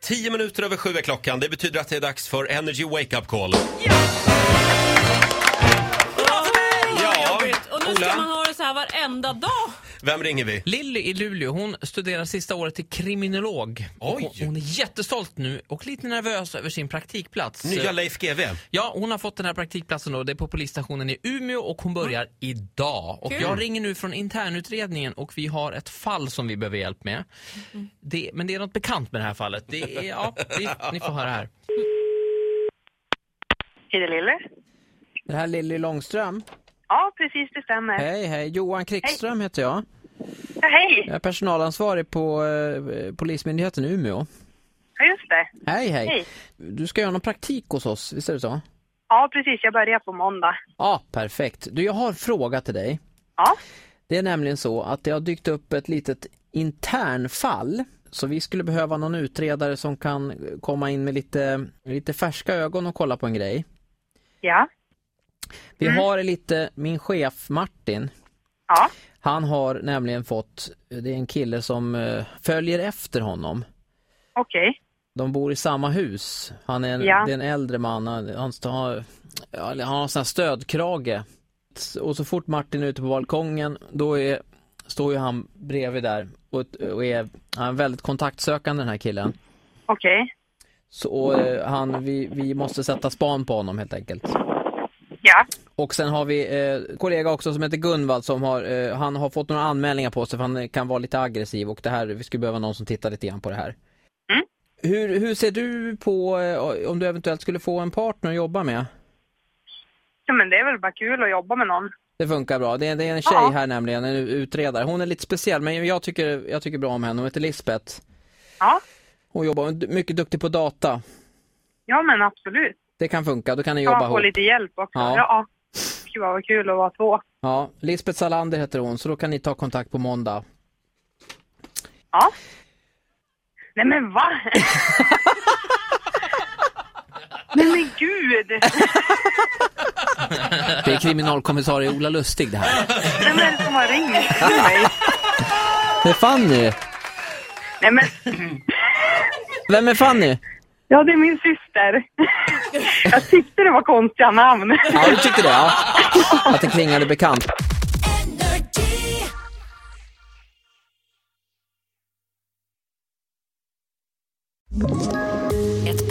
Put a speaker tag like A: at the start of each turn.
A: Tio minuter över sju är klockan. Det betyder att det är dags för Energy Wake Up Call. Ja,
B: Jobbigt. Och nu
A: Ola.
B: ska man ha det så här varenda dag.
A: Vem ringer vi?
C: Lilly i Luleå, hon studerar sista året till kriminolog. Och
A: Oj.
C: Hon, hon är jättestolt nu och lite nervös över sin praktikplats.
A: Nya Leif GW.
C: Ja, hon har fått den här praktikplatsen då. Det är på polisstationen i Umeå och hon börjar idag. Och
B: Kul.
C: jag ringer nu från internutredningen och vi har ett fall som vi behöver hjälp med. Det, men det är något bekant med det här fallet. Det är, ja, vi, ni får höra här.
D: Är det Lille?
E: Det här är Lilly Långström.
D: Ja, precis, det stämmer. Hej.
E: Hej, hej. Johan Krickström heter jag.
D: Ja, hej.
E: Jag är personalansvarig på eh, Polismyndigheten i Umeå.
D: Ja, just det.
E: Hej, hej,
D: Hej.
E: Du ska göra någon praktik hos oss, visst är det så?
D: Ja, precis, jag börjar på måndag.
E: Ja, perfekt. Du, jag har en fråga till dig.
D: Ja,
E: Det är nämligen så att det har dykt upp ett litet internfall. Så vi skulle behöva någon utredare som kan komma in med lite, lite färska ögon och kolla på en grej.
D: ja,
E: Vi har lite, min chef Martin,
D: ja,
E: han har nämligen fått, det är en kille som eh, följer efter honom.
D: okej.
E: De bor i samma hus. Han är en,
D: Ja.
E: det är en äldre man. Han, han, st- har- ja, han har en sån här stödkrage. Och så fort Martin är ute på balkongen då är, står ju han bredvid där och, och är, han är väldigt kontaktsökande den här killen.
D: Okej.
E: Så och, eh, han, vi, vi måste sätta span på honom helt enkelt.
D: Ja,
E: Och sen har vi eh, kollega också som heter Gunvald som har, eh, han har fått några anmälningar på sig för han eh, kan vara lite aggressiv och det här, vi skulle behöva någon som tittar lite grann på det här.
D: Mm.
E: Hur, hur ser du på eh, om du eventuellt skulle få en partner att jobba med?
D: ja, men det är väl bara kul att jobba med någon.
E: Det funkar bra. Det är, det är en tjej
D: Ja.
E: här nämligen, en utredare. Hon är lite speciell men jag tycker, jag tycker bra om henne. Hon heter Lisbeth.
D: Ja,
E: Hon jobbar, hon är du- mycket duktig på data.
D: ja men absolut.
E: Det kan funka, då kan ni jobba
D: Ja,
E: ihop.
D: få lite hjälp också.
E: Ja.
D: Ja. ja. Gud, vad kul att vara två.
E: Ja, Lisbeth Salander heter hon så då kan ni ta kontakt på måndag.
D: Ja. Nej, men va? Nej, men gud!
E: Det är kriminalkommissarie Ola Lustig det här.
D: Vem är det som har ringt till mig?
E: Det är Fanny!
D: Nej, men...
E: Vem är Fanny?
D: Ja, det är min syster. Jag tyckte det var konstiga namn.
E: Ja, du tyckte det? Ja. Att det klingade bekant.
F: Ett